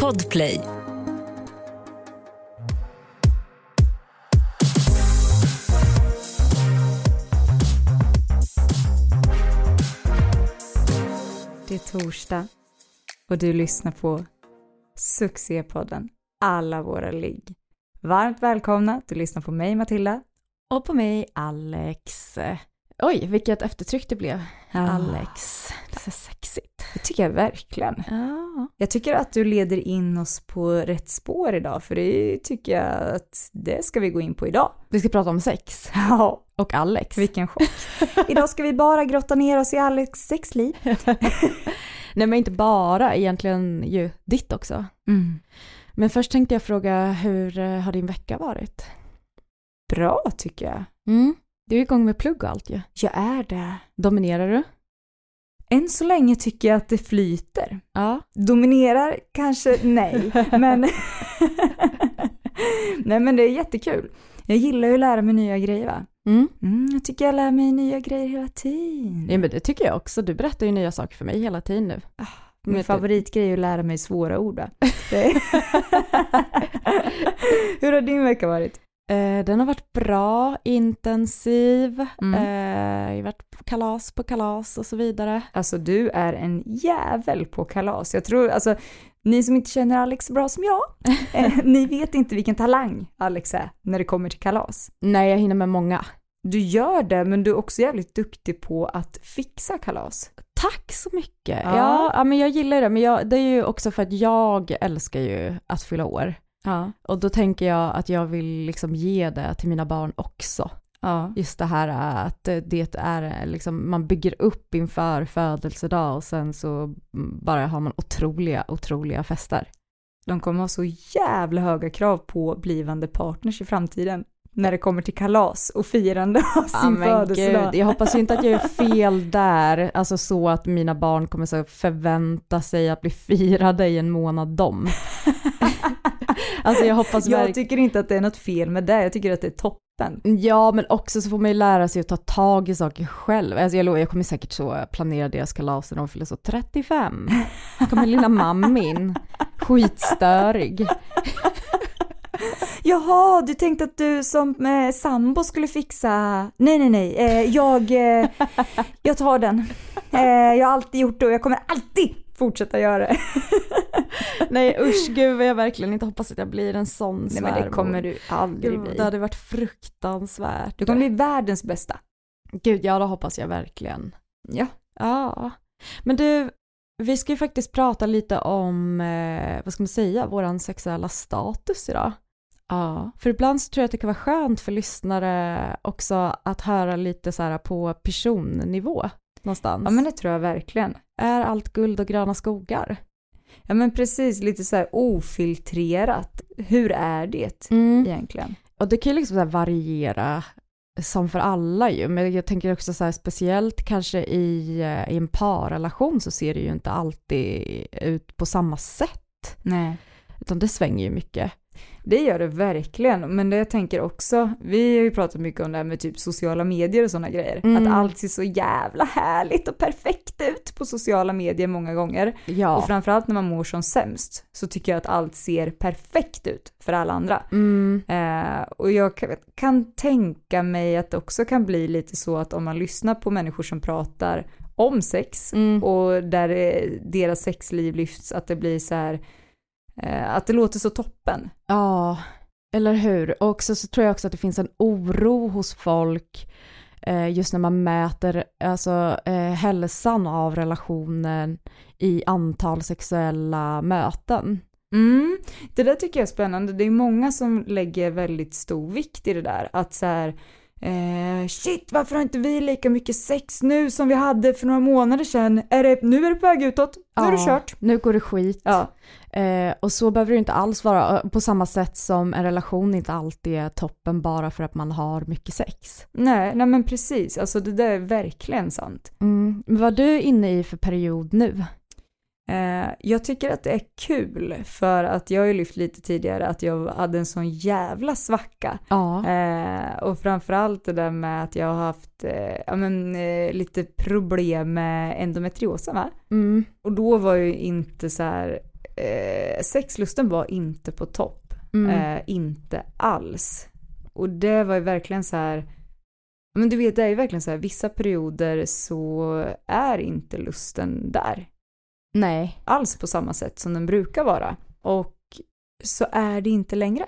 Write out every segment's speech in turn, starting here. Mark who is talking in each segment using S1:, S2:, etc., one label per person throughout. S1: Podplay.
S2: Det är torsdag och du lyssnar på Succépodden Alla våra ligg. Varmt välkomna, du lyssnar på mig Matilda.
S3: Och på mig Alex. Oj, vilket eftertryck det blev.
S2: Ah.
S3: Alex. Det är så sexigt.
S2: Det tycker jag verkligen.
S3: Ja.
S2: Jag tycker att du leder in oss på rätt spår idag för det tycker jag att det ska vi gå in på idag.
S3: Vi ska prata om sex
S2: Ja,
S3: och Alex.
S2: vilken chock. idag ska vi bara grotta ner oss i Alex sexliv.
S3: Nej men inte bara, egentligen ju ditt också. Men först tänkte jag fråga, hur eh, har din vecka varit?
S2: Bra tycker jag.
S3: Du är igång med plugg och allt ju.
S2: Jag är det.
S3: Dominerar du?
S2: Än så länge tycker jag att det flyter.
S3: Ja.
S2: Dominerar kanske, nej, men... nej men det är jättekul. Jag gillar ju att lära mig nya grejer va.
S3: Mm.
S2: Mm, jag tycker jag lär mig nya grejer hela tiden.
S3: Nej men det tycker jag också, du berättar ju nya saker för mig hela tiden nu.
S2: Min
S3: Vet du-
S2: favoritgrej är att lära mig svåra ord va. Det- Hur har din vecka varit?
S3: Eh, den har varit bra, intensiv,
S2: Mm.
S3: eh, jag har varit på kalas på kalas och så vidare.
S2: Alltså du är en jävel på kalas. Jag tror, alltså ni som inte känner Alex så bra som jag, eh, ni vet inte vilken talang Alex är när det kommer till kalas.
S3: Nej, jag hinner med många.
S2: Du gör det, men du är också jävligt duktig på att fixa kalas.
S3: Tack så mycket.
S2: Ja.
S3: Ja, ja, men jag gillar det. Men jag, det är ju också för att jag älskar ju att fylla år.
S2: Ja.
S3: Och då tänker jag att jag vill liksom ge det till mina barn också.
S2: ja.
S3: Just det här att det är liksom, man bygger upp inför födelsedag och sen så bara har man otroliga, otroliga fester.
S2: De kommer ha så jävla höga krav på blivande partners i framtiden när det kommer till kalas och firande av
S3: Ja,
S2: sin
S3: men
S2: födelsedag.
S3: gud, jag hoppas ju inte att jag gör fel där, alltså så att mina barn kommer så förvänta sig att bli firade i en månad de. alltså jag hoppas verkligen...
S2: Jag tycker inte att det är något fel med det, jag tycker att det är toppen.
S3: Ja, men också så får man ju lära sig att ta tag i saker själv. Alltså jag, lovar, jag kommer säkert så planera deras kalas när de fyller så 35. Då kommer lilla mammin, skitstörig.
S2: Jaha, du tänkte att du som eh, sambo skulle fixa... Nej, nej, nej. Eh, jag, eh, jag tar den. Eh, jag har alltid gjort det och jag kommer alltid fortsätta göra det.
S3: Nej usch, gud vad jag verkligen inte hoppas att jag blir en sån
S2: Nej,
S3: svärmor.
S2: men det kommer du aldrig
S3: Gud,
S2: bli.
S3: det hade varit fruktansvärt.
S2: Du kommer bli världens bästa.
S3: Gud, ja det hoppas jag verkligen.
S2: Ja.
S3: Ja. Men du, vi ska ju faktiskt prata lite om, eh, vad ska man säga, våran sexuella status idag.
S2: Ja.
S3: För ibland så tror jag att det kan vara skönt för lyssnare också att höra lite så här på personnivå någonstans.
S2: Ja, men det tror jag verkligen.
S3: Är allt guld och gröna skogar?
S2: Ja, men precis. Lite så här ofiltrerat. Hur är det
S3: Ja.
S2: egentligen?
S3: Och det kan ju liksom så här variera som för alla ju, men jag tänker också så här speciellt kanske i, eh, i en parrelation så ser det ju inte alltid ut på samma sätt,
S2: Nej.
S3: utan det svänger ju mycket.
S2: Det gör det verkligen, men det jag tänker också, vi har ju pratat mycket om det här med typ sociala medier och sådana grejer,
S3: Mm.
S2: att allt ser så jävla härligt och perfekt ut på sociala medier många gånger. Och
S3: Ja.
S2: framförallt när man mår som sämst så tycker jag att allt ser perfekt ut för alla andra.
S3: Mm.
S2: Eh, och jag kan, kan tänka mig att det också kan bli lite så att om man lyssnar på människor som pratar om sex
S3: Mm.
S2: och där eh, deras sexliv lyfts, att det blir så här, eh, att det låter så toppen.
S3: Ja, eller hur? Och också så tror jag också att det finns en oro hos folk eh, just när man mäter alltså, eh, hälsan av relationen i antal sexuella möten.
S2: Mm. Det där tycker jag är spännande. Det är många som lägger väldigt stor vikt i det där. Att så här, eh, shit varför har inte vi lika mycket sex nu som vi hade för några månader sedan? Är det, nu är det på väg utåt, nu är det
S3: Ja,
S2: kört.
S3: Nu går det skit.
S2: Ja.
S3: Eh, och så behöver det ju inte alls vara eh, på samma sätt som en relation inte alltid är toppen bara för att man har mycket sex.
S2: Nej, nej men precis, alltså det där är verkligen sant.
S3: Mm. Men Vad är du inne i för period nu?
S2: Eh, jag tycker att det är kul för att jag har ju lyft lite tidigare att jag hade en sån jävla svacka.
S3: Ja.
S2: Eh, och framförallt det där med att jag har haft eh, ja, men, eh, lite problem med endometriosen va?
S3: Mm.
S2: Och då var jag ju inte så här eh, sexlusten var inte på topp.
S3: Mm.
S2: Eh, inte alls. Och det var ju verkligen så här, men du vet det är ju verkligen så här, vissa perioder så är inte lusten där
S3: Nej.
S2: alls på samma sätt som den brukar vara. Och så är det inte längre.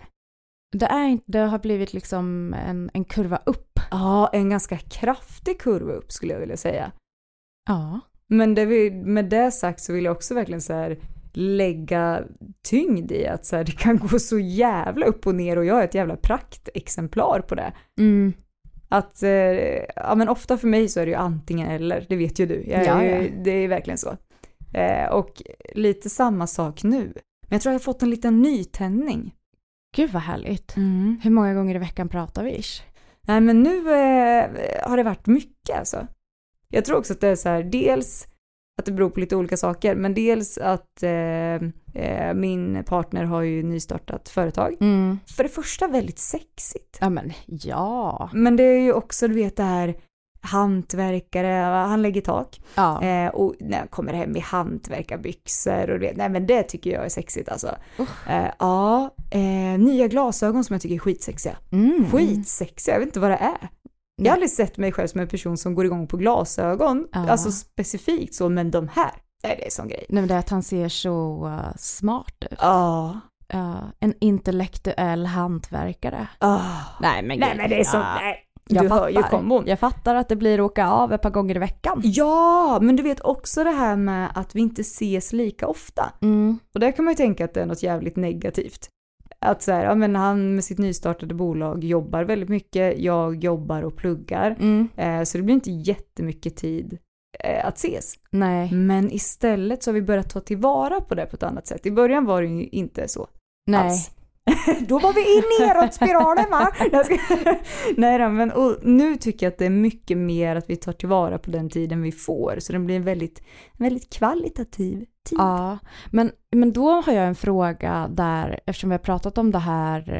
S3: Det, är, inte- det har blivit liksom en, en kurva upp.
S2: Ja, en ganska kraftig kurva upp skulle jag vilja säga.
S3: Ja.
S2: Men det vi, med det sagt så vill jag också verkligen så här lägga tyngd i att så här, det kan gå så jävla upp och ner och jag är ett jävla praktexemplar på det.
S3: Mm.
S2: Att, eh, ja men ofta för mig så är det ju antingen eller, det vet ju du. Jag är
S3: Ja,
S2: ju, Det är verkligen så. Eh, och lite samma sak nu. Men jag tror jag har fått en liten nytändning.
S3: Gud vad härligt. Hur många gånger i veckan pratar vi ish?
S2: Nej men nu eh, har det varit mycket alltså. Jag tror också att det är så här, dels att det beror på lite olika saker, men dels att eh, eh, min partner har ju nystartat företag.
S3: Mm.
S2: För det första väldigt sexigt.
S3: Ja men ja.
S2: Men det är ju också, du vet det här hantverkare, han lägger tak.
S3: Ja.
S2: Eh, och när jag kommer hem i hantverkarbyxor och det, nej men det tycker jag är sexigt alltså.
S3: Usch.
S2: Eh, ja, eh, nya glasögon som jag tycker är skitsexiga.
S3: Mm.
S2: Skitsexiga, jag vet inte vad det är. Jag
S3: Nej.
S2: har aldrig sett mig själv som en person som går igång på glasögon,
S3: Ja.
S2: alltså specifikt så, men de här, nej det är en sån grej.
S3: Nej men det är att han ser så eh, smart ut.
S2: Ja,
S3: Ja, en intellektuell hantverkare.
S2: ah.
S3: Nej men
S2: nej
S3: gud,
S2: men det är så,
S3: ja.
S2: nej.
S3: Jag
S2: du hör ju
S3: fattar.
S2: kombon.
S3: Jag fattar att det blir åka av ett par gånger i veckan.
S2: Ja, men du vet också det här med att vi inte ses lika ofta.
S3: Mm.
S2: Och där kan man ju tänka att det är något jävligt negativt. Att så här, ja men han med sitt nystartade bolag jobbar väldigt mycket, jag jobbar och pluggar.
S3: Mm.
S2: Eh, så det blir inte jättemycket tid eh, att ses.
S3: Nej.
S2: Men istället så har vi börjat ta tillvara på det på ett annat sätt. I början var det ju inte så
S3: Nej.
S2: alls. Då var vi in neråt spiralen va? Nej, jag ska- Nej då, men och nu tycker jag att det är mycket mer att vi tar tillvara på den tiden vi får. Så den blir en väldigt, en väldigt kvalitativ tid.
S3: Ja, men, men då har jag en fråga där, eftersom vi har pratat om det här,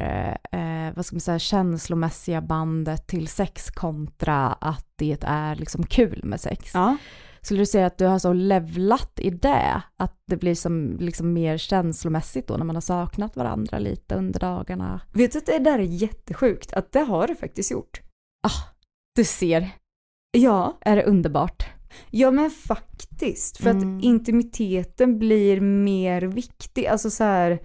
S3: eh, eh, vad ska man säga, känslomässiga bandet till sex kontra att det är liksom kul med sex.
S2: Ja.
S3: Skulle du säga att du har så levlat i det, att det blir som liksom mer känslomässigt då när man har saknat varandra lite under dagarna?
S2: Vet du att det där är jättesjukt? Att det har det faktiskt gjort.
S3: Du ser,
S2: Ja,
S3: är det underbart?
S2: ja men faktiskt. För
S3: Mm.
S2: att intimiteten blir mer viktig. Alltså så här,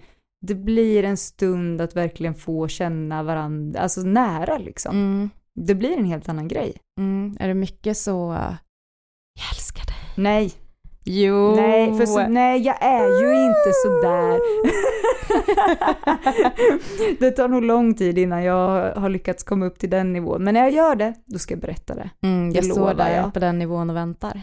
S2: det blir en stund att verkligen få känna varandra, alltså nära liksom.
S3: Mm.
S2: Det blir en helt annan grej.
S3: Mm. Är det mycket så, eh, jag älskar dig?
S2: Nej,
S3: Jo!
S2: Nej, för
S3: Oh.
S2: så, nej, jag är ju inte sådär. det tar nog lång tid innan jag har lyckats komma upp till den nivån. Men när jag gör det, då ska jag berätta det.
S3: Mm,
S2: Det
S3: jag står
S2: lovar
S3: där
S2: jag.
S3: på den nivån och väntar.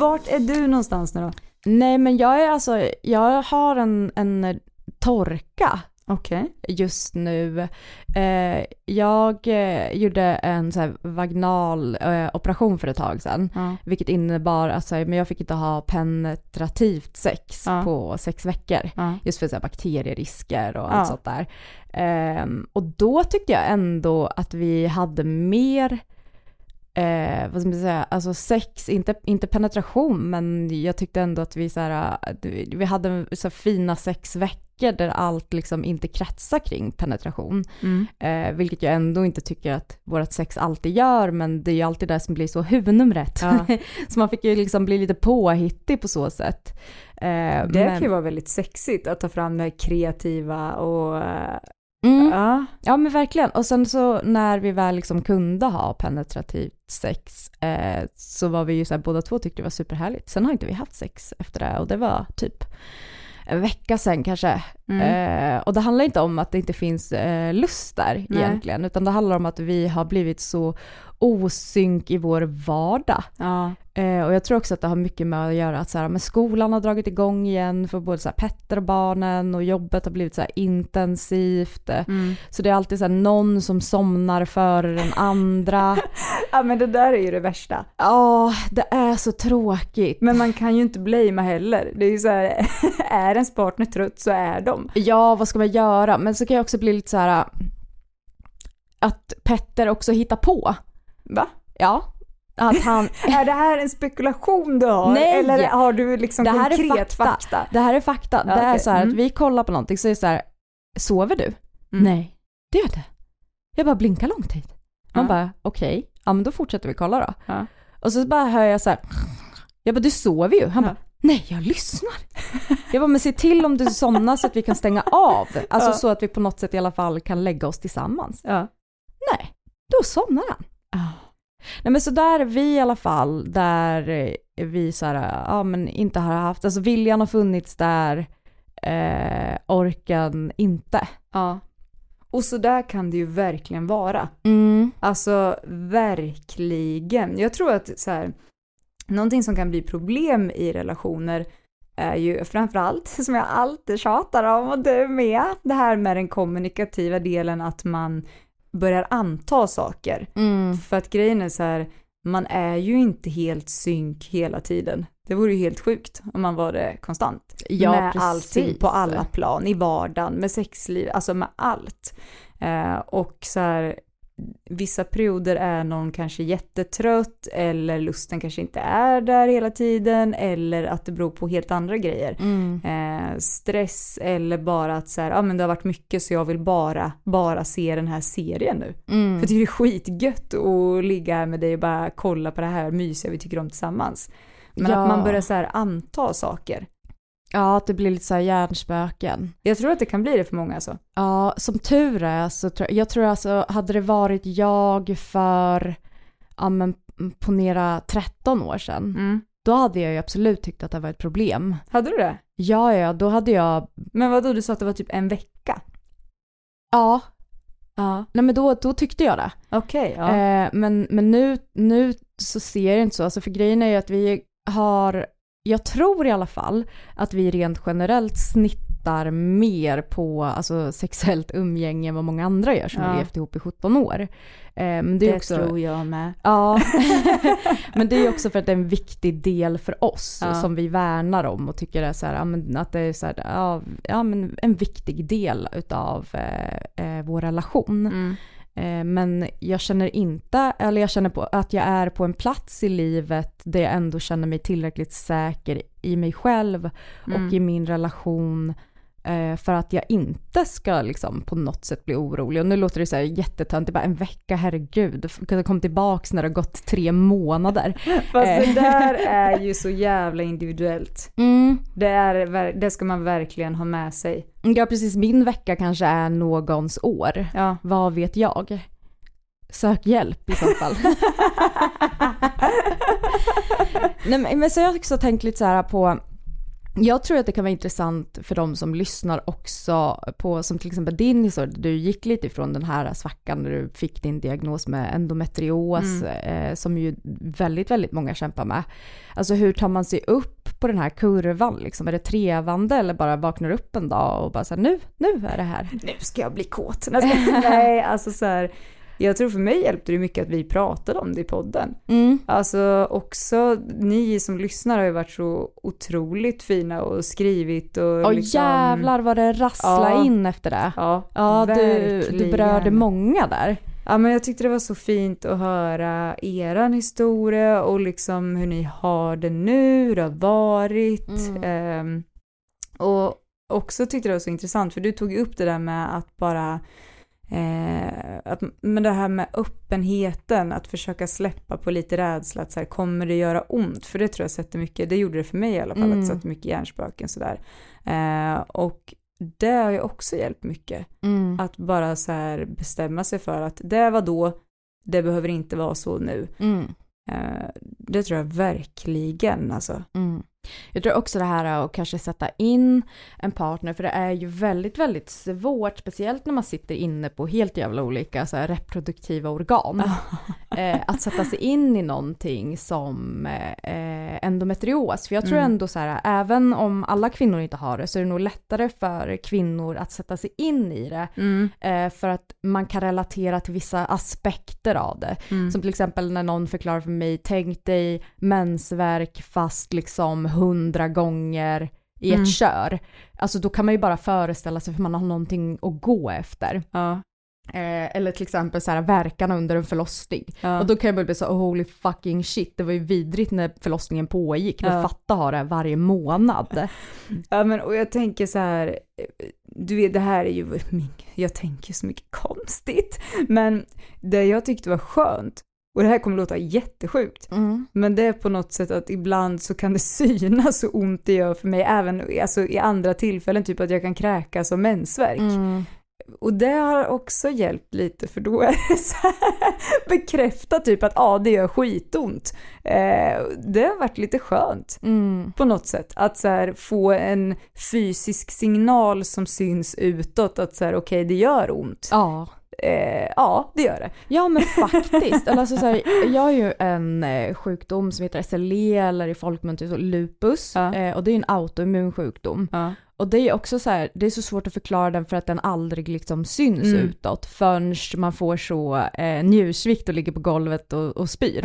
S2: Vart är du någonstans nu då?
S3: Nej men jag är alltså, jag har en, en torka
S2: Okej.
S3: just nu. Eh, jag eh, gjorde en så här, vaginal eh, operation för ett tag sedan.
S2: Ja.
S3: Vilket innebar att så här, men jag fick inte ha penetrativt sex
S2: Ja.
S3: på sex veckor.
S2: Ja.
S3: Just för så här, bakterierisker och
S2: Ja.
S3: allt sånt där. Ehm, och då tyckte jag ändå att vi hade mer, eh, vad ska man säga, alltså sex, inte, inte penetration, men jag tyckte ändå att vi, så här, eh, vi hade så här, fina sex veckor där allt liksom inte kretsar kring penetration.
S2: Mm.
S3: Eh, vilket jag ändå inte tycker att vårt sex alltid gör, men det är ju alltid det som blir så huvudnumret.
S2: Ja.
S3: så man fick ju liksom bli lite påhittig på så sätt. Eh,
S2: Det kan ju vara väldigt sexigt att ta fram det här kreativa och... eh,
S3: mm.
S2: Ja.
S3: Ja men verkligen. Och sen så när vi väl liksom kunde ha penetrativt sex eh, så var vi ju så här, båda två tyckte det var superhärligt. Sen har inte vi haft sex efter det och det var typ en vecka sen kanske. Eh, och det handlar inte om att det inte finns eh, lust där
S2: Nej.
S3: egentligen, utan det handlar om att vi har blivit så osynk i vår vardag.
S2: Ja.
S3: Eh, och jag tror också att det har mycket med att göra att så här, men skolan har dragit igång igen för både så här, Petter och barnen och jobbet har blivit så här, intensivt. Eh, Så det är alltid så här, någon som somnar före den andra.
S2: ja, men det där är ju det värsta.
S3: Ja, det är så tråkigt.
S2: Men man kan ju inte blamea heller. Det är ju så här, är ens partner trött så är de.
S3: Ja, vad ska man göra? Men så kan jag också bli lite så här eh, att Petter också hittar på.
S2: Va?
S3: Ja, att han,
S2: Är det här en spekulation du har?
S3: Nej!
S2: Eller har du liksom
S3: Det här är
S2: konkret
S3: fakta. det här är fakta.
S2: Ja,
S3: det är
S2: okej.
S3: så här
S2: Mm.
S3: att vi kollar på någonting så är det så här, sover du?
S2: Mm.
S3: Nej, det gör jag inte. Jag bara blinkar lång tid. Man
S2: Ja.
S3: bara, okej, ja men då fortsätter vi kolla då.
S2: Ja.
S3: Och så bara hör jag så här, jag bara du sover ju. Han
S2: Ja.
S3: bara, nej jag lyssnar. Jag bara, men se till om du somnar så att vi kan stänga av. Alltså
S2: Ja.
S3: så att vi på något sätt i alla fall kan lägga oss tillsammans.
S2: Ja.
S3: Nej, då somnar han. Ah. Nej men så där är vi i alla fall, där eh, vi så här, ja men inte har haft, alltså viljan har funnits där, eh, orken inte.
S2: Ja. Och så där kan det ju verkligen vara.
S3: Mm.
S2: Alltså verkligen. Jag tror att så här, någonting som kan bli problem i relationer är ju framförallt, som jag alltid tjatar om och du med, det här med den kommunikativa delen att man börjar anta saker.
S3: mm.
S2: För att grejen är så här, man är ju inte helt synk hela tiden. Det vore ju helt sjukt om man var det konstant.
S3: Ja,
S2: med
S3: precis.
S2: allting på alla plan, i vardagen, med sexliv, alltså med allt. Eh, och så här, vissa perioder är någon kanske jättetrött eller lusten kanske inte är där hela tiden eller att det beror på helt andra grejer.
S3: Mm,
S2: Eh, stress eller bara att så här, ja ah, men det har varit mycket så jag vill bara, bara se den här serien nu.
S3: Mm.
S2: För jag tycker det är skitgött att ligga här med dig och bara kolla på det här mysiga vi tycker om tillsammans. Men
S3: Ja.
S2: att man börjar så här anta saker.
S3: Ja, att det blir lite så här hjärnspöken.
S2: Jag tror att det kan bli det för många alltså.
S3: Ja, som tur är så tror jag, jag tror alltså hade det varit jag för, ja men ponera 13 år sedan,
S2: Mm.
S3: då hade jag ju absolut tyckt att det var ett problem.
S2: Hade du det?
S3: Ja, ja, då hade jag,
S2: Men vadå, du sa att det var typ en vecka?
S3: ja,
S2: Ja.
S3: nej men då, då tyckte jag det.
S2: Okej, ja.
S3: Eh, men men nu, nu så ser jag inte så, alltså för grejen är ju att vi har, jag tror i alla fall att vi rent generellt snittar mer på alltså, sexuellt umgänge än vad många andra gör som
S2: Ja.
S3: har levt ihop i 17 år. Eh, men det, är också,
S2: jag med.
S3: Ja, men det är ju också för att det är en viktig del för oss
S2: Ja.
S3: som vi värnar om och tycker är så här, ja, men att det är så här, ja, ja, men en viktig del utav eh, eh, vår relation.
S2: Mm.
S3: Eh, men jag känner inte, eller jag känner på att jag är på en plats i livet där jag ändå känner mig tillräckligt säker i mig själv och i min relation eh, för att jag inte ska liksom på något sätt bli orolig. Och nu låter det så här jättetöntigt, bara en vecka, herregud, kom tillbaks när det har gått tre månader.
S2: Fast det
S3: Eh.
S2: där är ju så jävla individuellt.
S3: Mm.
S2: Det, är, ver- det ska man verkligen ha med sig.
S3: Ja precis, min vecka kanske är någons år.
S2: Ja.
S3: Vad vet jag? Sök hjälp i så fall. Nej, men men så har jag också tänkt lite så här på, jag tror att det kan vara intressant för de som lyssnar också på, som till exempel din historia, där du gick lite ifrån den här svackan när du fick din diagnos med endometrios, eh, som ju väldigt, väldigt många kämpar med. Alltså hur tar man sig upp på den här kurvan liksom? Är det trevande eller bara vaknar upp en dag och bara så här, nu, nu är det här.
S2: Nu ska jag bli kåt. Nej, jag ska- Nej, alltså så här. Jag tror för mig hjälpte det mycket att vi pratade om det i podden.
S3: Mm.
S2: Alltså också ni som lyssnar har ju varit så otroligt fina och skrivit och
S3: Ja
S2: liksom...
S3: jävlar vad det rassla
S2: Ja.
S3: in efter det.
S2: Ja,
S3: Ja, du,
S2: verkligen.
S3: du berörde många där.
S2: Ja men jag tyckte det var så fint att höra eran historia och liksom hur ni har det nu, hur det har varit. Ehm, och också tyckte det var så intressant för du tog ju upp det där med att bara Eh, att, men det här med öppenheten, att försöka släppa på lite rädsla, att så här, kommer det göra ont? För det tror jag sätter mycket, det gjorde det för mig i alla fall, att
S3: Mm.
S2: det satte mycket hjärnspöken sådär. Eh, och det har ju också hjälpt mycket.
S3: Mm,
S2: Att bara så här bestämma sig för att det var då, det behöver inte vara så nu.
S3: Mm.
S2: Eh, Det tror jag verkligen alltså.
S3: Mm. Jag tror också det här att kanske sätta in en partner, för det är ju väldigt, väldigt svårt, speciellt när man sitter inne på helt jävla olika så här, reproduktiva organ, eh, att sätta sig in i någonting som eh, endometrios. För jag tror ändå så här, även om alla kvinnor inte har det, så är det nog lättare för kvinnor att sätta sig in i det, eh, för att man kan relatera till vissa aspekter av det. Som till exempel när någon förklarar för mig, tänk dig mensvärk fast liksom hundra gånger i ett kör. Alltså då kan man ju bara föreställa sig för man har någonting att gå efter.
S2: Ja.
S3: Eh, eller till exempel så här verkan under en förlossning.
S2: Ja.
S3: Och då kan jag bara bli så oh, holy fucking shit, det var ju vidrigt när förlossningen pågick, men
S2: Ja.
S3: fatta ha det här varje månad.
S2: Ja men och jag tänker så här, eh, du vet det här är ju, min- jag tänker så mycket konstigt, men det jag tyckte var skönt, och det här kommer låta jättesjukt,
S3: Mm.
S2: men det är på något sätt att ibland så kan det synas så ont det gör för mig, även alltså, i andra tillfällen, typ att jag kan kräkas av mensvärk.
S3: Mm.
S2: Och det har också hjälpt lite för då är det så här bekräftat typ att ja, det gör skitont. Eh, det har varit lite skönt
S3: Mm.
S2: på något sätt. Att så här, få en fysisk signal som syns utåt att så här, okej, det gör ont.
S3: Ja.
S2: Eh, ja, det gör det.
S3: Ja men faktiskt. Eller alltså så här, jag har ju en eh, sjukdom som heter SLE eller i folkmun typ så lupus
S2: Ja.
S3: eh, och det är ju en autoimmun sjukdom.
S2: Ja.
S3: Och det är också så här, det är så svårt att förklara den för att den aldrig liksom syns
S2: Mm.
S3: utåt förrän man får så eh, njursvikt och ligger på golvet och, och spyr.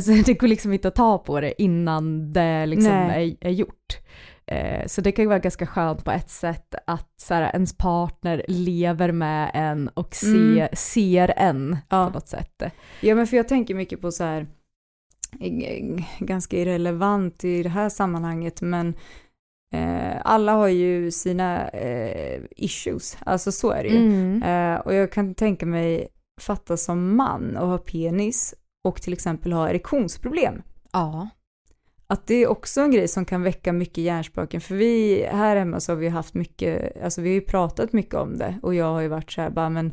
S3: Så det går liksom inte att ta på det innan det liksom är,
S2: Nej.
S3: är gjort. Eh, Så det kan ju vara ganska skönt på ett sätt att så här, ens partner lever med en och se,
S2: Mm.
S3: ser en
S2: Ja.
S3: på något sätt.
S2: Ja men för jag tänker mycket på så här, g- ganska irrelevant i det här sammanhanget men eh, alla har ju sina eh, issues, alltså så är det ju. Eh, och jag kan tänka mig fatta som man och ha penis och till exempel ha erektionsproblem.
S3: Ja.
S2: Att det är också en grej som kan väcka mycket hjärnspöken för vi här hemma så har vi haft mycket, alltså vi har ju pratat mycket om det och jag har ju varit så här bara men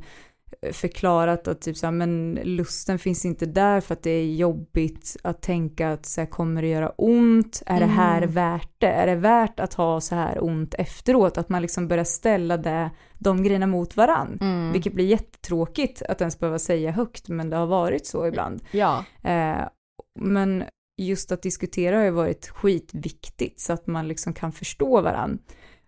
S2: eh, förklarat att typ så här, men lusten finns inte där för att det är jobbigt att tänka att så här, kommer det göra ont? Är det här
S3: Mm.
S2: värt det? Är det värt att ha så här ont efteråt? Att man liksom börjar ställa det, de grejerna mot varann.
S3: Mm.
S2: Vilket blir jättetråkigt att ens behöva säga högt, men det har varit så
S3: Mm.
S2: ibland.
S3: ja.
S2: Eh, men just att diskutera har ju varit skitviktigt så att man liksom kan förstå varandra.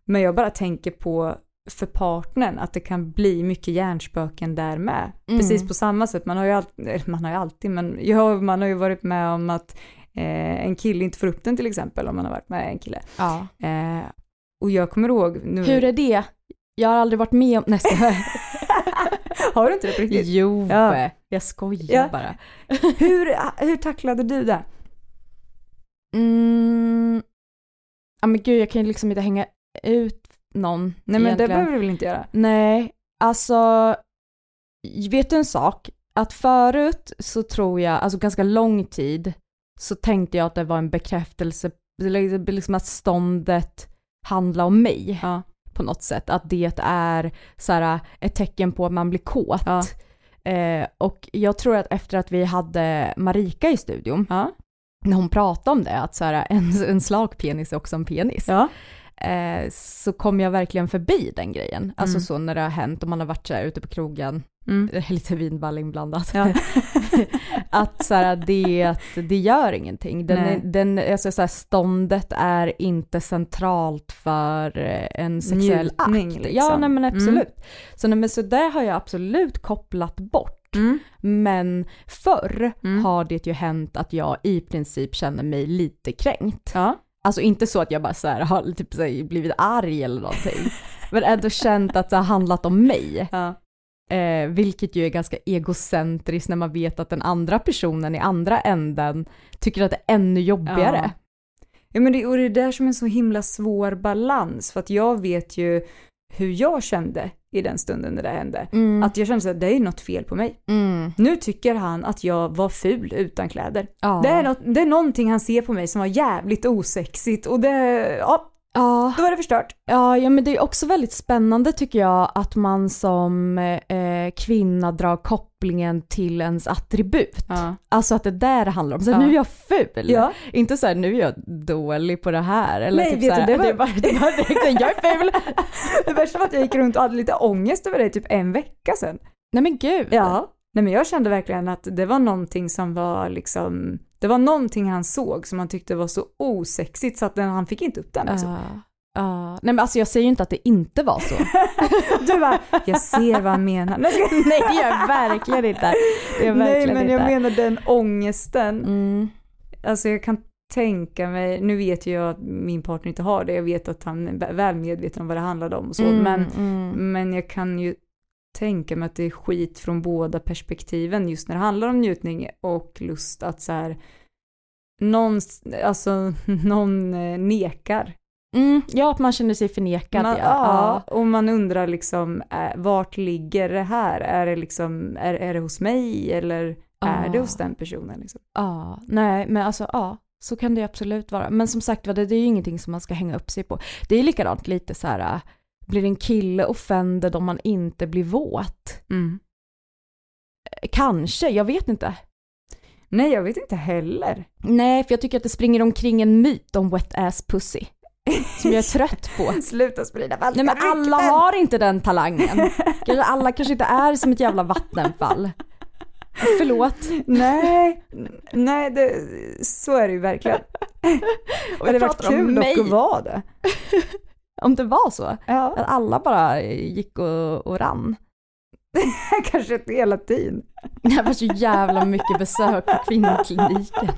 S2: Men jag bara tänker på för partnern att det kan bli mycket hjärnspöken där med.
S3: Mm.
S2: Precis på samma sätt, man har ju alltid, man har ju alltid, men jag, man har ju varit med om att eh, en kille inte får upp den till exempel om man har varit med en kille.
S3: ja.
S2: Eh, och jag kommer ihåg nu...
S3: Hur är det? Jag har aldrig varit med om... Nej, jag skojar.
S2: har du inte det på riktigt?
S3: Jo,
S2: Ja.
S3: jag skojar
S2: Ja.
S3: bara.
S2: Hur, hur tacklade du det?
S3: Mm. Ja men gud, jag kan ju liksom inte hänga ut någon
S2: Nej men
S3: egentligen.
S2: det behöver du väl inte göra?
S3: Nej, alltså vet du en sak? Att förut så tror jag, alltså ganska lång tid, så tänkte jag att det var en bekräftelse, liksom liksom att ståndet handlar om mig
S2: Ja.
S3: på något sätt. Att det är så här, eh, ett tecken på att man blir kåt.
S2: Ja.
S3: Eh, och jag tror att efter att vi hade Marika i studion,
S2: Ja.
S3: när hon pratade om det, att så här, eh, en, en slak penis är också en penis
S2: Ja.
S3: eh, så kom jag verkligen förbi den grejen. Alltså
S2: Mm.
S3: så när det har hänt och man har varit så här ute på krogen,
S2: Mm.
S3: eh, lite vinballe inblandat.
S2: Ja.
S3: att så här, det, att det gör ingenting. Den,
S2: Nej.
S3: är- den, alltså, så här, ståndet är inte centralt för eh, en sexuell akt.
S2: Njutning,
S3: Ja,
S2: liksom.
S3: nej, men
S2: Mm.
S3: absolut. Så, nej, men, så det har jag absolut kopplat bort.
S2: Mm.
S3: Men förr
S2: Mm.
S3: har det ju hänt att jag i princip känner mig lite kränkt.
S2: Ja.
S3: Alltså inte så att jag bara så här har typ så här blivit arg eller någonting. Men ändå känt att det har handlat om mig.
S2: Ja.
S3: Eh, vilket ju är ganska egocentriskt när man vet att den andra personen i andra änden tycker att det är ännu jobbigare.
S2: Ja, men det, och det är där som en så himla svår balans för att jag vet ju hur jag kände i den stunden när det hände.
S3: Mm.
S2: Att jag kände så att det är något fel på mig.
S3: mm,
S2: Nu tycker han att jag var ful utan kläder.
S3: ja.
S2: Det, är något, det är någonting han ser på mig som var jävligt osexigt och det, ja,
S3: Ja.
S2: Då var det förstört.
S3: Ja, ja, men det är också väldigt spännande tycker jag att man som eh, kvinna drar kopplingen till ens attribut.
S2: Ja.
S3: Alltså att det där det handlar om. Så här,
S2: Ja.
S3: nu är jag ful.
S2: Ja.
S3: Inte så här, nu är jag dålig på det här. Eller
S2: Nej,
S3: typ
S2: vet du,
S3: så här,
S2: det var-
S3: är bara, det var direkt en, jag är ful.
S2: Det värsta var att jag gick runt och hade lite ångest över det typ en vecka sedan.
S3: Nej men gud.
S2: Ja. Nej men jag kände verkligen att det var någonting som var liksom, det var någonting han såg som han tyckte var så osexigt så att den, han fick inte upp den. Alltså.
S3: Ja. Ja. Nej men alltså jag säger ju inte att det inte var så.
S2: Du bara, jag ser vad han menar. Nej, jag ska-
S3: Nej det gör jag verkligen inte. Det gör jag
S2: Nej
S3: verkligen
S2: men jag
S3: inte.
S2: menar den ångesten.
S3: Mm.
S2: Alltså jag kan tänka mig, nu vet ju jag att min partner inte har det, jag vet att han är vä- väl medveten om vad det handlade om och så,
S3: Mm,
S2: men,
S3: mm.
S2: men jag kan ju tänka mig att det är skit från båda perspektiven just när det handlar om njutning och lust att så här, någon, alltså någon eh, nekar.
S3: Mm. Ja att man känner sig förnekad
S2: Man,
S3: ja.
S2: ja, och man undrar liksom, eh, vart ligger det här? Är det liksom, är, är det hos mig eller är det
S3: Ja.
S2: hos den personen? Liksom?
S3: Ja, nej men alltså ja, så kan det ju absolut vara. Men som sagt var, det, det är ju ingenting som man ska hänga upp sig på. Det är ju likadant lite så här, äh, blir en kille offended om man inte blir våt? Eh, Kanske, jag vet inte.
S2: Nej, jag vet inte heller.
S3: Nej, för jag tycker att det springer omkring en myt om wet ass pussy. Som jag är trött på.
S2: Sluta sprida falska
S3: Nej men alla
S2: rykten.
S3: har inte den talangen. Kanske alla kanske inte är som ett jävla vattenfall. Förlåt.
S2: Nej, nej det, så är det ju verkligen.
S3: Och
S2: det hade
S3: jag
S2: varit
S3: pratar om
S2: kul
S3: mig.
S2: dock att vara det.
S3: Om det var så.
S2: Ja,
S3: Att alla bara gick och, och rann.
S2: kanske inte hela tiden.
S3: Det var så jävla mycket besök på kvinnokliniken.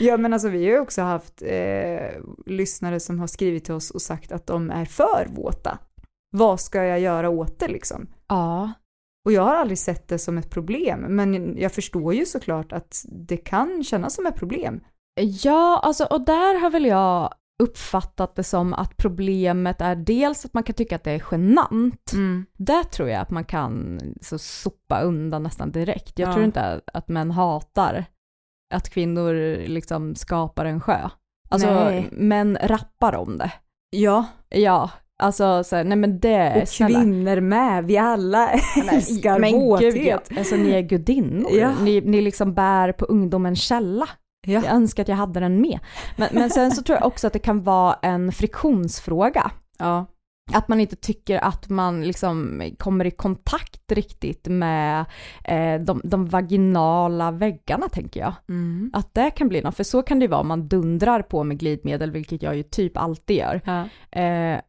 S2: Ja men alltså vi har ju också haft eh, lyssnare som har skrivit till oss och sagt att de är för våta. Vad ska jag göra åt det liksom?
S3: Ja,
S2: Och jag har aldrig sett det som ett problem, men jag förstår ju såklart att det kan kännas som ett problem.
S3: ja alltså, och där har väl jag uppfattat det som att problemet är dels att man kan tycka att det är genant.
S2: Mm.
S3: Där tror jag att man kan så sopa undan nästan direkt. Jag
S2: Ja.
S3: tror inte att män hatar att kvinnor liksom skapar en sjö. Alltså
S2: Nej.
S3: män rappar om det.
S2: Ja,
S3: Ja, alltså så här, nej men det,
S2: och kvinnor med, vi alla älskar våthet.
S3: gud, ja. alltså ni är gudinnor.
S2: Ja.
S3: Ni, ni liksom bär på ungdomens källa.
S2: Ja.
S3: Jag önskar att jag hade den med. Men, men sen så tror jag också att det kan vara en friktionsfråga.
S2: ja.
S3: Att man inte tycker att man liksom kommer i kontakt riktigt med eh, de, de vaginala väggarna tänker jag.
S2: Mm.
S3: Att det kan bli något, för så kan det ju vara om man dundrar på med glidmedel, vilket jag ju typ alltid gör.
S2: ja.
S3: Eh,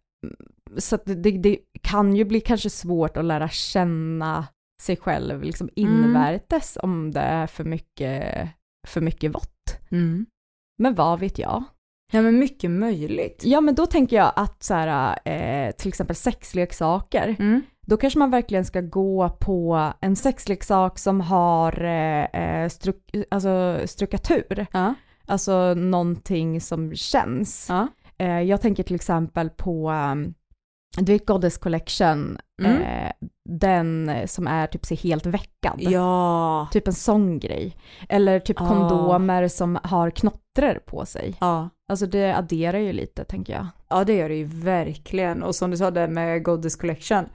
S3: så att det, det kan ju bli kanske svårt att lära känna sig själv liksom invärtes om det är för mycket, för mycket vått.
S2: Mm.
S3: Men vad vet jag?
S2: Ja men mycket möjligt.
S3: Ja men då tänker jag att så här, eh, till exempel sexleksaker,
S2: Mm.
S3: då kanske man verkligen ska gå på en sexleksak som har eh, eh, struk, alltså, strukatur,
S2: Ja.
S3: alltså någonting som känns.
S2: Ja.
S3: Eh, jag tänker till exempel på, um, du vet Goddess Collection,
S2: Mm.
S3: eh, den som är typ så helt veckad.
S2: Ja.
S3: Typ en sån grej. Eller typ
S2: Ah.
S3: kondomer som har knottror på sig.
S2: ja.
S3: Alltså det adderar ju lite tänker jag.
S2: Ja det gör det ju verkligen. Och som du sa där med Goddess Collection.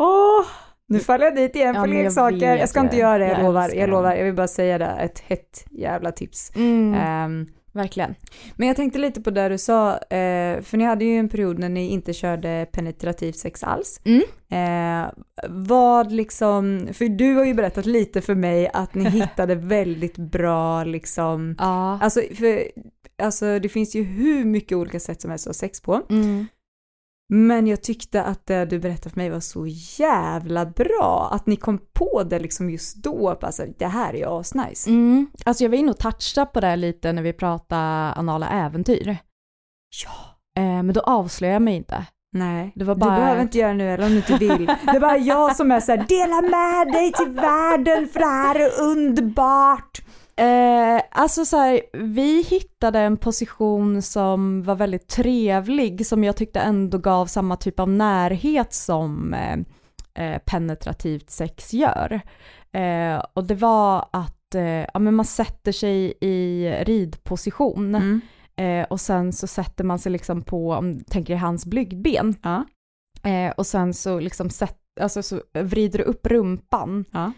S2: Åh, nu faller jag dit igen
S3: Mm. Ja,
S2: på
S3: men jag
S2: leksaker. Jag,
S3: vet
S2: ska inte
S3: det.
S2: göra det, jag,
S3: Jag
S2: lovar.
S3: älskar
S2: Jag
S3: dem.
S2: lovar, jag vill bara säga det, ett hett jävla tips.
S3: Eh,
S2: Ehm,
S3: verkligen.
S2: men jag tänkte lite på det du sa, eh, för ni hade ju en period när ni inte körde penetrativ sex alls.
S3: Mm.
S2: Eh, vad liksom, för du har ju berättat lite för mig att ni hittade väldigt bra liksom,
S3: Ja.
S2: alltså, för, alltså det finns ju hur mycket olika sätt som helst att ha sex på.
S3: Mm.
S2: Men jag tyckte att det du berättade för mig var så jävla bra, att ni kom på det liksom just då, alltså det här är ju asnice.
S3: Mm. Alltså jag var inne och touchade på det här lite när vi pratade anala äventyr.
S2: Ja.
S3: Eh, men då avslöjade jag mig inte.
S2: Nej,
S3: Det var bara-
S2: du behöver inte göra det nu eller om du inte vill. Det är bara jag som är så här, dela med dig till världen för det här är underbart.
S3: Eh, alltså så här, vi hittade en position som var väldigt trevlig som jag tyckte ändå gav samma typ av närhet som eh, eh, penetrativt sex gör. Eh, och det var att eh, ja, men man sätter sig i ridposition
S2: Mm.
S3: Eh, och sen så sätter man sig liksom på, om du tänker i hans blygdben,
S2: Ja.
S3: eh, och sen så liksom sätt, alltså så vrider du upp rumpan
S2: Ja.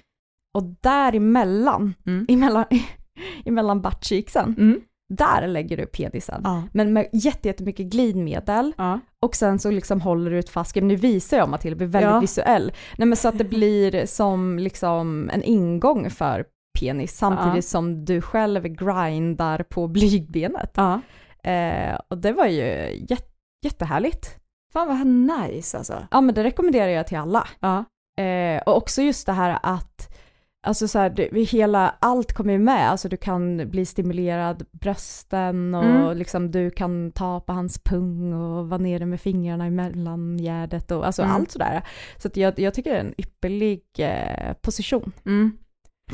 S3: och däremellan,
S2: Mm.
S3: emellan, emellan buttcheeksen,
S2: Mm.
S3: där lägger du penisen.
S2: Ja.
S3: Men med jätte- jättemycket glidmedel
S2: Ja.
S3: och sen så liksom håller du ett fast grepp. Nu visar jag Matilda, det blir väldigt
S2: Ja.
S3: visuell. Nej men så att det blir som liksom en ingång för penis samtidigt
S2: Ja.
S3: som du själv grindar på blygbenet.
S2: ja.
S3: Eh, och det var ju jät- jättehärligt.
S2: Fan vad nice alltså.
S3: Ja men det rekommenderar jag till alla.
S2: Ja.
S3: Eh, och också just det här att, alltså så här, det, hela, allt kommer ju med, alltså du kan bli stimulerad, brösten och
S2: Mm.
S3: liksom du kan ta på hans pung och vara nere med fingrarna i mellangärdet och alltså
S2: Mm.
S3: allt sådär. Så att jag, jag tycker det är en ypperlig eh, position.
S2: Mm.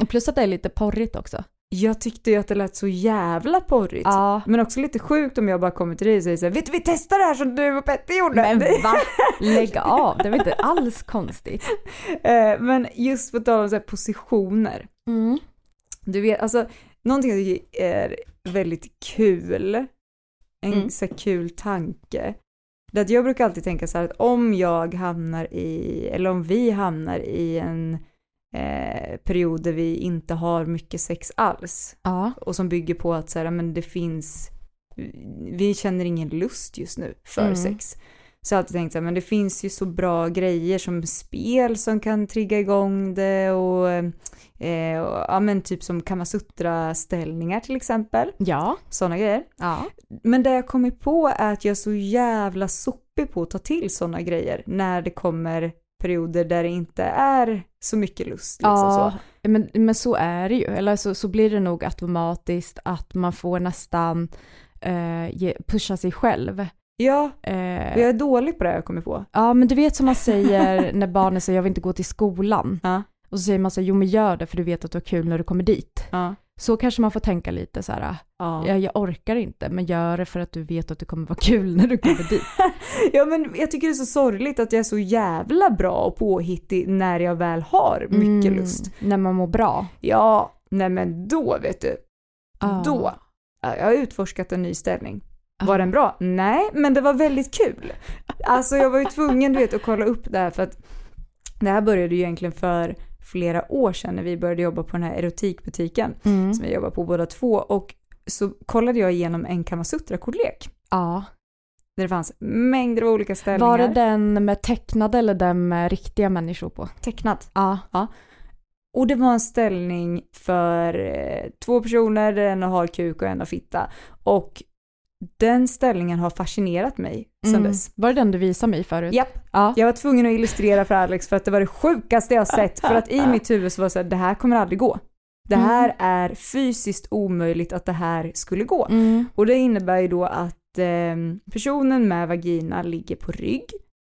S3: Och plus att det är lite porrigt också.
S2: Jag tyckte ju att det lät så jävla porrigt.
S3: Ja.
S2: Men också lite sjukt om jag bara kommer till dig och säger såhär, vet du vi testar det här som du och Petter gjorde.
S3: Men va? Lägg av, det var inte alls konstigt.
S2: Eh, Men just på tal om så här positioner.
S3: Mm.
S2: Du vet, alltså någonting jag tycker är väldigt kul, en
S3: Mm.
S2: så här kul tanke. Det är att jag brukar alltid tänka så här att om jag hamnar i, eller om vi hamnar i en eh, period där vi inte har mycket sex alls
S3: Ja.
S2: och som bygger på att så här, men det finns, vi känner ingen lust just nu för
S3: Mm.
S2: sex. Så jag har alltid tänkt så här, men det finns ju så bra grejer som spel som kan trigga igång det och, eh, och ja men typ som Kamasutra-ställningar till exempel,
S3: Ja.
S2: sådana grejer.
S3: Ja.
S2: Men det jag kommit på är att jag är så jävla sopig på att ta till sådana grejer när det kommer perioder där det inte är så mycket lust. Liksom så.
S3: Men, men så är det ju, eller så, så blir det nog automatiskt att man får nästan eh, ge, pusha sig själv.
S2: Ja, och
S3: Eh,
S2: jag är dålig på det jag kommer på.
S3: ja men du vet som man säger när barnen säger jag vill inte gå till skolan.
S2: Ja.
S3: Och så säger man så här, jo men gör det för du vet att du har kul när du kommer dit.
S2: Ja.
S3: Så kanske man får tänka lite så här, "Ah,
S2: Ja.
S3: jag, jag orkar inte men gör det för att du vet att det kommer vara kul när du kommer dit.
S2: Ja men jag tycker det är så sorgligt att jag är så jävla bra och påhittig när jag väl har mycket
S3: Mm,
S2: lust.
S3: När man mår bra.
S2: Ja, nej men då vet du.
S3: Ja.
S2: Då. Ja, Jag har utforskat en ny ställning.
S3: Ja.
S2: Var den bra? Nej, men det var väldigt kul. Alltså jag var ju tvungen du vet att kolla upp det här för att det här började ju egentligen för flera år sedan när vi började jobba på den här erotikbutiken
S3: Mm.
S2: som vi jobbar på båda två och så kollade jag igenom en Kamasutra-kortlek
S3: Ja.
S2: där det fanns mängder av olika ställningar.
S3: Var det den med tecknade eller den med riktiga människor på?
S2: tecknat?
S3: Ja.
S2: Och det var en ställning för eh, två personer där en har kuk och en har fitta. Och den ställningen har fascinerat mig sedan
S3: Mm.
S2: dess.
S3: Var det den du visade mig förut?
S2: Japp.
S3: Ja.
S2: Jag var tvungen att illustrera för Alex för att det var det sjukaste jag sett. För att i mitt huvud så var det så här, det här kommer aldrig gå. Det
S3: Mm.
S2: här är fysiskt omöjligt att det här skulle gå.
S3: Mm.
S2: Och det innebär ju då att eh, personen med vagina ligger på rygg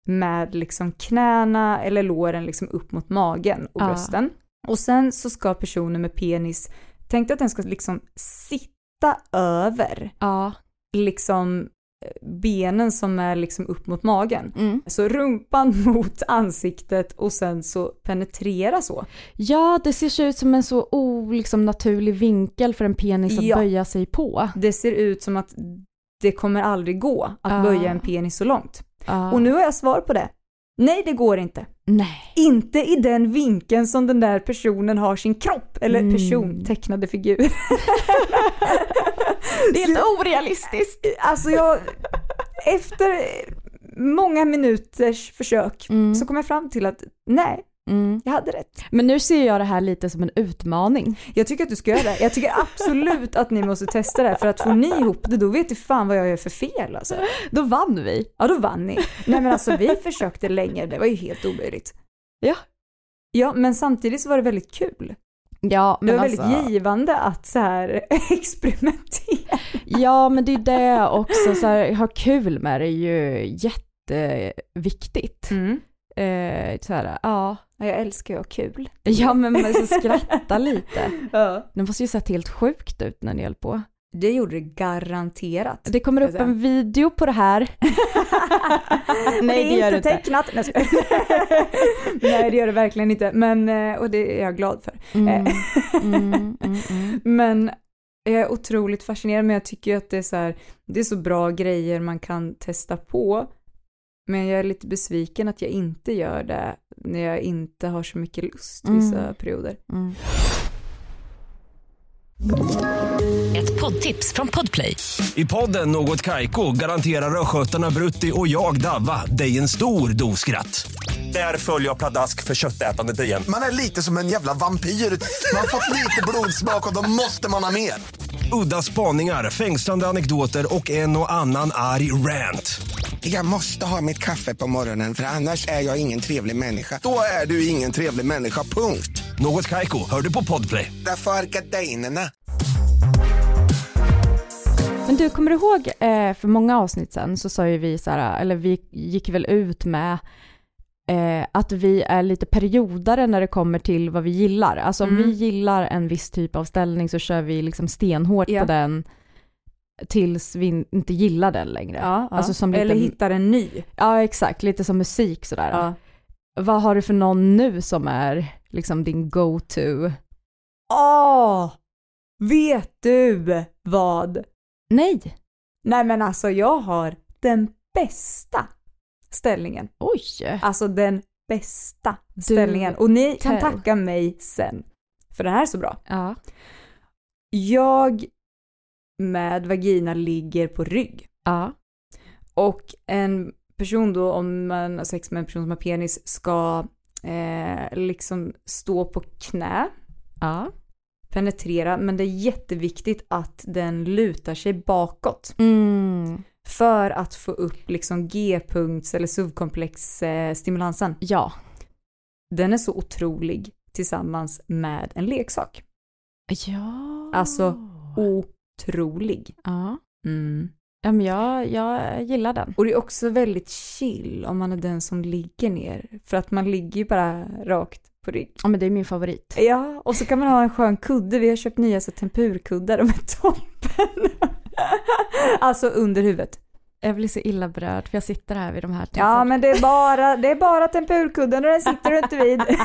S2: med liksom knäna eller låren liksom upp mot magen och
S3: Ja.
S2: brösten. Och sen så ska personen med penis, tänk dig att den ska liksom sitta över
S3: Ja.
S2: liksom eh, benen som är liksom upp mot magen.
S3: Mm.
S2: Så rumpan mot ansiktet och sen så penetrera så.
S3: ja, det ser ut som en så o, liksom, naturlig vinkel för en penis att
S2: Ja.
S3: böja sig på.
S2: Det ser ut som att det kommer aldrig gå att
S3: Ja.
S2: böja en penis så långt.
S3: Ja.
S2: Och nu har jag svar på det. Nej, det går inte.
S3: Nej.
S2: inte i den vinkeln som den där personen har sin kropp, eller
S3: Mm.
S2: person, tecknade figur.
S3: Det är helt orealistiskt.
S2: Alltså jag, efter många minuters försök
S3: Mm.
S2: så kom jag fram till att nej,
S3: Mm.
S2: jag hade rätt.
S3: Men nu ser jag det här lite som en utmaning.
S2: Jag tycker att du ska göra det. Jag tycker absolut att ni måste testa det här för att får ni ihop det då vet du fan vad jag gör för fel alltså.
S3: Då vann vi.
S2: Ja, då vann ni. Nej men alltså vi försökte länge, det var ju helt omöjligt.
S3: Ja.
S2: Ja, men samtidigt så var det väldigt kul.
S3: Ja,
S2: Det
S3: men
S2: var
S3: alltså,
S2: väldigt givande att så här experimentera.
S3: Ja, men det är det också. Så här, ha kul med det är ju jätteviktigt. Eh, så här, ja.
S2: Ja, jag älskar ju att ha kul.
S3: ja, men man så skratta lite.
S2: Ja.
S3: Det måste ju sett helt sjukt ut när ni höll på.
S2: Det gjorde det garanterat.
S3: Det kommer upp
S2: Ska jag
S3: en video på det här.
S2: Men
S3: Nej, det gör
S2: är
S3: det
S2: inte
S3: inte.
S2: tecknat. Nej, jag skojar. Nej, det gör det verkligen Mm.
S3: Eh,
S2: inte. Men, eh, och det är jag glad för.
S3: Mm, mm, mm, mm.
S2: Men Jag är otroligt fascinerad men jag tycker ju att det är så här, det är så bra grejer man kan testa på. Men jag är lite besviken att jag inte gör det när jag inte har så mycket lust vissa
S3: Mm.
S2: perioder.
S3: Mm.
S1: Ett poddtips från Podplay.
S4: I podden Något Kaiko garanterar östgötarna Brutti och jag, Davva, dig en stor dos skratt. Där följer jag pladask för köttätandet igen.
S5: Man är lite som en jävla vampyr. Man har fått lite blodsmak och då måste man ha mer.
S4: Udda spaningar, fängslande anekdoter och en och annan arg rant.
S5: Jag måste ha mitt kaffe på morgonen för annars är jag ingen trevlig människa. Då är du ingen trevlig människa, punkt.
S4: Något Kaiko, hör du på Podplay.
S5: Därför är gardinerna.
S3: Men du, kommer du ihåg eh, för många avsnitt sen så sa ju vi så här, eller vi gick väl ut med eh, att vi är lite periodare när det kommer till vad vi gillar. Alltså om
S2: Mm.
S3: vi gillar en viss typ av ställning så kör vi liksom stenhårt
S2: Ja.
S3: på den tills vi inte gillar den längre.
S2: Ja, ja.
S3: Alltså som
S2: Eller
S3: liten-
S2: hittar en ny.
S3: Ja, exakt, lite som musik sådär.
S2: Ja.
S3: Vad har du för någon nu som är liksom din go-to?
S2: Åh! Vet du vad?
S3: Nej!
S2: Nej men alltså jag har den bästa ställningen.
S3: Oj!
S2: Alltså den bästa ställningen. Och ni kan
S3: tell.
S2: tacka mig sen. För den här är så bra.
S3: Ja.
S2: Jag med vagina ligger på rygg.
S3: Ja.
S2: Och en person då, om man har sex med en person som har penis, ska eh, liksom stå på knä,
S3: Ja.
S2: penetrera, men det är jätteviktigt att den lutar sig bakåt.
S3: Mm.
S2: för att få upp liksom G-punkts eller subkomplexstimulansen.
S3: Ja.
S2: Den är så otrolig tillsammans med en leksak.
S3: Ja.
S2: Alltså, Otrolig. Mm.
S3: Ja. ja men jag, jag gillar den.
S2: Och det är också väldigt chill om man är den som ligger ner, för att man ligger ju bara rakt på rygg.
S3: Ja men det är min favorit.
S2: Ja, och så kan man ha en skön kudde. Vi har köpt nya så tempurkuddar, de är toppen. alltså under huvudet.
S3: Jag blir så illa berörd för jag sitter här vid de här
S2: Ja, men det är bara, det är bara tempurkudden och den sitter du inte vid.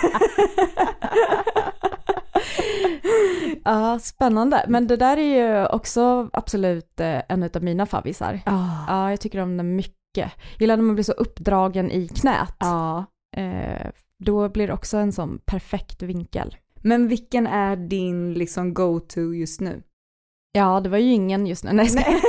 S3: Ja, spännande. Men det där är ju också absolut eh, en av mina favvisar.
S2: Ja.
S3: Ja, jag tycker om den mycket. Gillar när man blir så uppdragen i knät.
S2: ja.
S3: Eh, då blir det också en sån perfekt vinkel.
S2: Men vilken är din liksom go-to just nu?
S3: Ja, det var ju ingen just nu. Nej, jag skojar.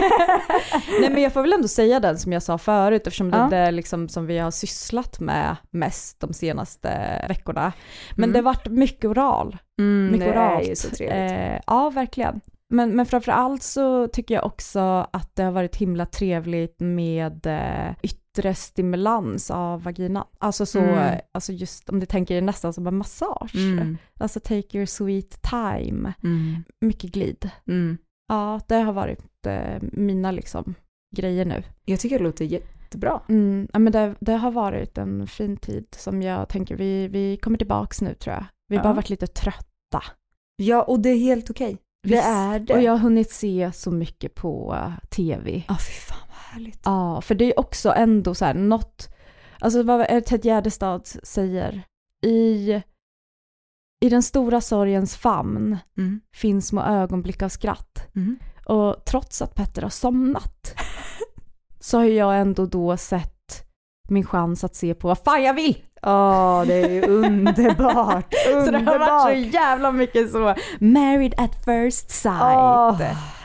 S3: Nej men jag får väl ändå säga den som jag sa förut eftersom det
S2: Ja.
S3: är det liksom som vi har sysslat med mest de senaste veckorna. Men
S2: Mm.
S3: det har varit mycket oral.
S2: Mm,
S3: Mycket
S2: det är
S3: oralt.
S2: ju så trevligt.
S3: Eh, ja verkligen. Men, men framförallt så tycker jag också att det har varit himla trevligt med eh, yttre stimulans av vaginan. Alltså så,
S2: Mm.
S3: alltså just om du tänker nästan som en massage.
S2: Mm,
S3: Alltså take your sweet time.
S2: mm,
S3: Mycket glid.
S2: mm.
S3: Ja, det har varit eh, mina liksom grejer nu.
S2: Jag tycker det låter jättebra.
S3: Mm, ja, men det, det har varit en fin tid som jag tänker, vi, vi kommer tillbaks nu tror jag. Vi har
S2: Ja.
S3: bara varit lite trötta.
S2: Ja, och det är helt okej. Det
S3: Visst.
S2: är det.
S3: Och jag har hunnit se så mycket på eh, tv.
S2: Ja, fy fan vad härligt.
S3: Ja, för det är också ändå så här något, alltså vad är det Ted Gärdestad säger? I, I den stora sorgens famn
S2: Mm,
S3: finns små ögonblick av skratt.
S2: mm.
S3: Och trots att Petter har somnat så har jag ändå då sett min chans att se på vad fan jag vill.
S2: Ja, det är ju underbart.
S3: Så det har varit
S2: underbart.
S3: så jävla mycket så, married at first sight.
S2: Åh.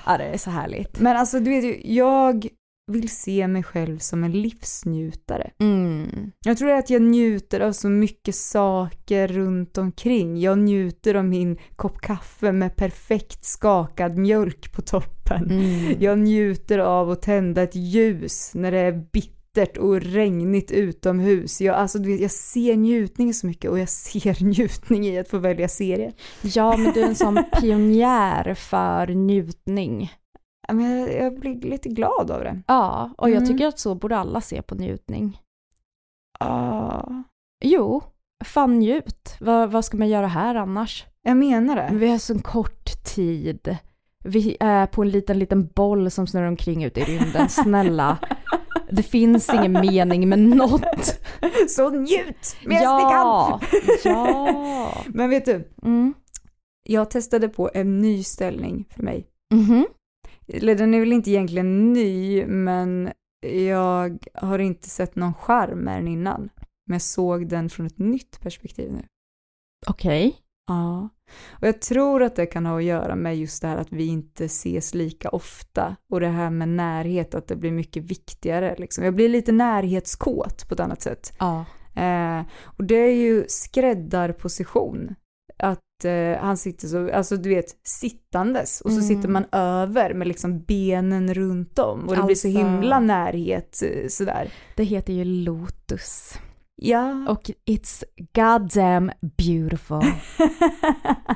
S3: Ja det är så härligt.
S2: Men alltså du vet ju, jag vill se mig själv som en livsnjutare.
S3: Mm.
S2: Jag tror att jag njuter av så mycket saker runt omkring. Jag njuter av min kopp kaffe med perfekt skakad mjölk på toppen.
S3: Mm.
S2: Jag njuter av att tända ett ljus när det är bittert och regnigt utomhus. Jag, alltså, du vet, jag ser njutning så mycket och jag ser njutning i att få välja serie.
S3: Ja men du är en sån pionjär för njutning.
S2: Ja, Men jag, jag blir lite glad av det.
S3: Ja, och jag
S2: Mm.
S3: tycker att så borde alla se på njutning.
S2: Ah,
S3: Jo, fan njut. Vad, vad ska man göra här annars?
S2: jag menar det.
S3: Vi har så kort tid. Vi är på en liten, liten boll som snurrar omkring ute i rymden. Snälla, det finns ingen mening med något.
S2: Så njut medan ni kan!
S3: ja, ja.
S2: Men vet du,
S3: Mm.
S2: jag testade på en ny ställning för mig
S3: Mhm.
S2: Eller den är väl inte egentligen ny, men jag har inte sett någon charm med den innan. Men jag såg den från ett nytt perspektiv nu.
S3: Okej.
S2: Ja, och jag tror att det kan ha att göra med just det här att vi inte ses lika ofta och det här med närhet, att det blir mycket viktigare liksom. Jag blir lite närhetskåt på ett annat sätt.
S3: Ja.
S2: Eh, och det är ju skräddarposition. Att eh, han sitter så, alltså du vet, sittandes och så
S3: Mm.
S2: sitter man över med liksom benen runt om och det blir så
S3: Alltså.
S2: himla närhet eh, sådär.
S3: Det heter ju Lotus.
S2: Ja.
S3: Och it's goddamn beautiful.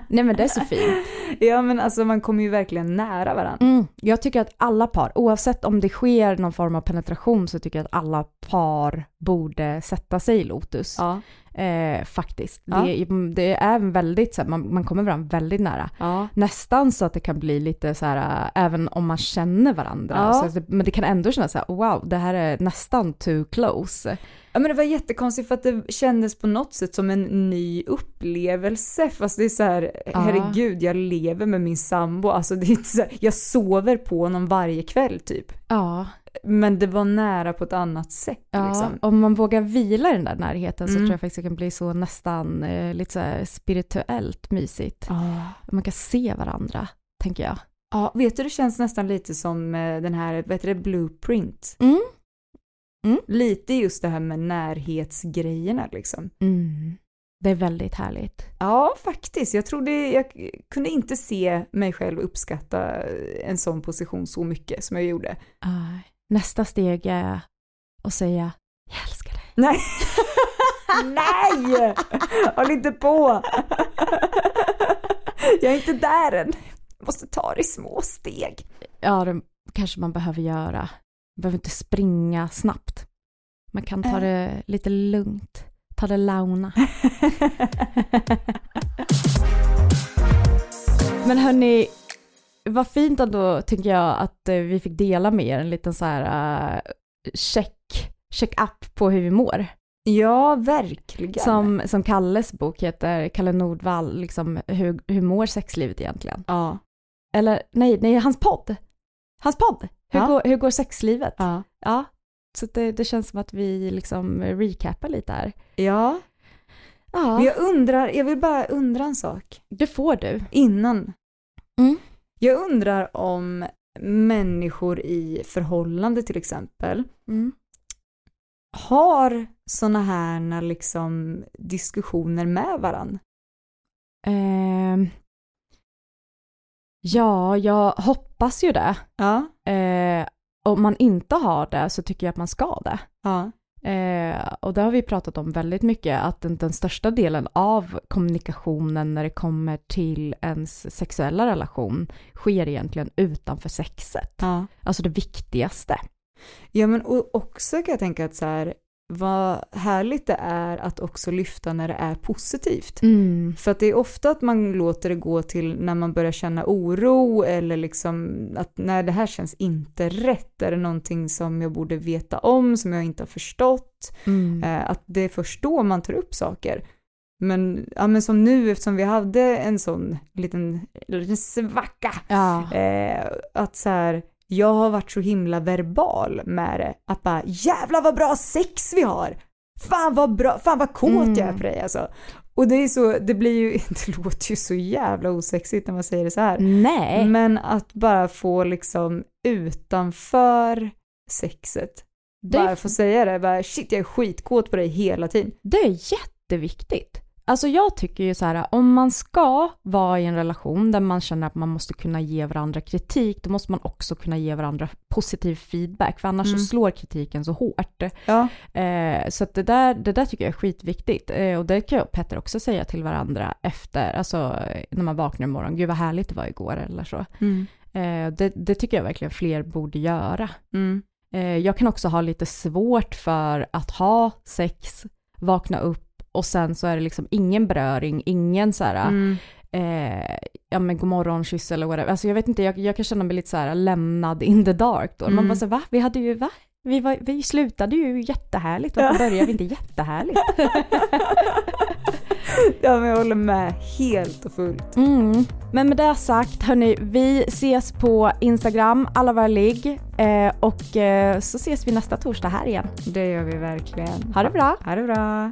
S3: Nej men det är så fint.
S2: ja men alltså man kommer ju verkligen nära varandra.
S3: Mm. Jag tycker att alla par, oavsett om det sker någon form av penetration så tycker jag att alla par borde sätta sig i Lotus.
S2: Ja,
S3: Eh, faktiskt.
S2: Ja.
S3: Det, det är en väldigt, så här, man, man kommer varandra väldigt nära.
S2: ja,
S3: Nästan så att det kan bli lite så här, äh, även om man känner varandra.
S2: Ja.
S3: Så att det, men det kan ändå kännas så här, wow, det här är nästan too close.
S2: Ja men det var jättekonstigt för att det kändes på något sätt som en ny upplevelse fast det är så här, herregud jag lever med min sambo, alltså det är inte så här, jag sover på honom varje kväll typ.
S3: Ja,
S2: Men det var nära på ett annat sätt
S3: ja.
S2: liksom.
S3: om man vågar vila i den där närheten så
S2: Mm.
S3: tror jag faktiskt det kan bli så nästan eh, lite så här spirituellt mysigt.
S2: Ja.
S3: Man kan se varandra, tänker jag.
S2: Ja, vet du det känns nästan lite som eh, den här, vad heter det, blueprint.
S3: Mm.
S2: Mm. Lite just det här med närhetsgrejerna liksom.
S3: Mm. Det är väldigt härligt.
S2: Ja, faktiskt. Jag trodde, jag kunde inte se mig själv uppskatta eh, en sån position så mycket som jag gjorde.
S3: Ja. nästa steg är att säga, jag älskar dig.
S2: Nej! Nej! Håll inte på! Jag är inte där än. Jag måste ta det i små steg.
S3: ja, det kanske man behöver göra. Man behöver inte springa snabbt. Man kan ta
S2: Äh.
S3: det lite lugnt. Ta det launa. Men hörni, vad fint ändå tycker jag att eh, vi fick dela med er en liten så här eh, check, check-up på hur vi mår.
S2: Ja, verkligen.
S3: Som, som Kalles bok heter, Kalle Nordvall, liksom hur, hur mår sexlivet egentligen?
S2: Ja.
S3: Eller nej, nej, hans podd. Hans podd. Hur,
S2: Ja.
S3: går, hur går sexlivet? Ja.
S2: Ja.
S3: Så att det, det känns som att vi liksom recapar lite här.
S2: ja. Men
S3: Ja,
S2: jag undrar, jag vill bara undra en sak
S3: det får du.
S2: innan.
S3: Mm.
S2: Jag undrar om människor i förhållande till exempel har sådana här liksom diskussioner med varandra.
S3: Ehm. ja, jag hoppas ju det.
S2: Ja.
S3: Eh, om man inte har det så tycker jag att man ska det.
S2: Ja.
S3: Eh, och det har vi pratat om väldigt mycket, att den, den största delen av kommunikationen när det kommer till ens sexuella relation sker egentligen utanför sexet.
S2: Ja.
S3: Alltså det viktigaste.
S2: Ja men och också kan jag tänka att så här, vad härligt det är att också lyfta när det är positivt. För att det är ofta att man låter det gå till när man börjar känna oro eller liksom att när det här känns inte rätt, är det någonting som jag borde veta om, som jag inte har förstått?
S3: Eh,
S2: Eh, att det är först då man tar upp saker. Men, ja, men som nu, eftersom vi hade en sån liten, liten svacka
S3: Ja.
S2: Eh, att så här, jag har varit så himla verbal med det. Att bara jävlar vad bra sex vi har! Fan vad bra, fan vad kåt jag är
S3: Mm.
S2: på dig alltså. Och det är så, det blir ju, det låter ju så jävla osexigt när man säger det så här.
S3: Nej.
S2: Men att bara få liksom utanför sexet,
S3: det,
S2: bara
S3: är,
S2: få säga det, bara shit jag är skitkåt på dig hela tiden.
S3: det är jätteviktigt. Alltså jag tycker ju så här, om man ska vara i en relation där man känner att man måste kunna ge varandra kritik, då måste man också kunna ge varandra positiv feedback, för annars
S2: Mm.
S3: så slår kritiken så hårt.
S2: Ja.
S3: Eh, så att det, där, det där tycker jag är skitviktigt. Eh, och det kan jag och Petter också säga till varandra efter, alltså eh, när man vaknar imorgon, gud vad härligt det var igår eller så.
S2: Mm.
S3: Eh, det, det tycker jag verkligen fler borde göra.
S2: Mm.
S3: Eh, jag kan också ha lite svårt för att ha sex, vakna upp och sen så är det liksom ingen beröring, ingen så här,
S2: Mm.
S3: eh, ja men godmorgon, kyss eller whatever. Alltså jag vet inte, jag, jag kan känna mig lite så här lämnad in the dark då.
S2: Mm.
S3: Man bara så här, va? Vi hade ju, va? Vi, var, vi slutade ju jättehärligt, varför började vi inte jättehärligt?
S2: Ja, men jag håller med helt och fullt.
S3: Mm. Men med det sagt, hörni, vi ses på Instagram, alla våra ligg eh, och eh, så ses vi nästa torsdag här igen.
S2: Det gör vi verkligen.
S3: Ha det bra!
S2: Ha det bra.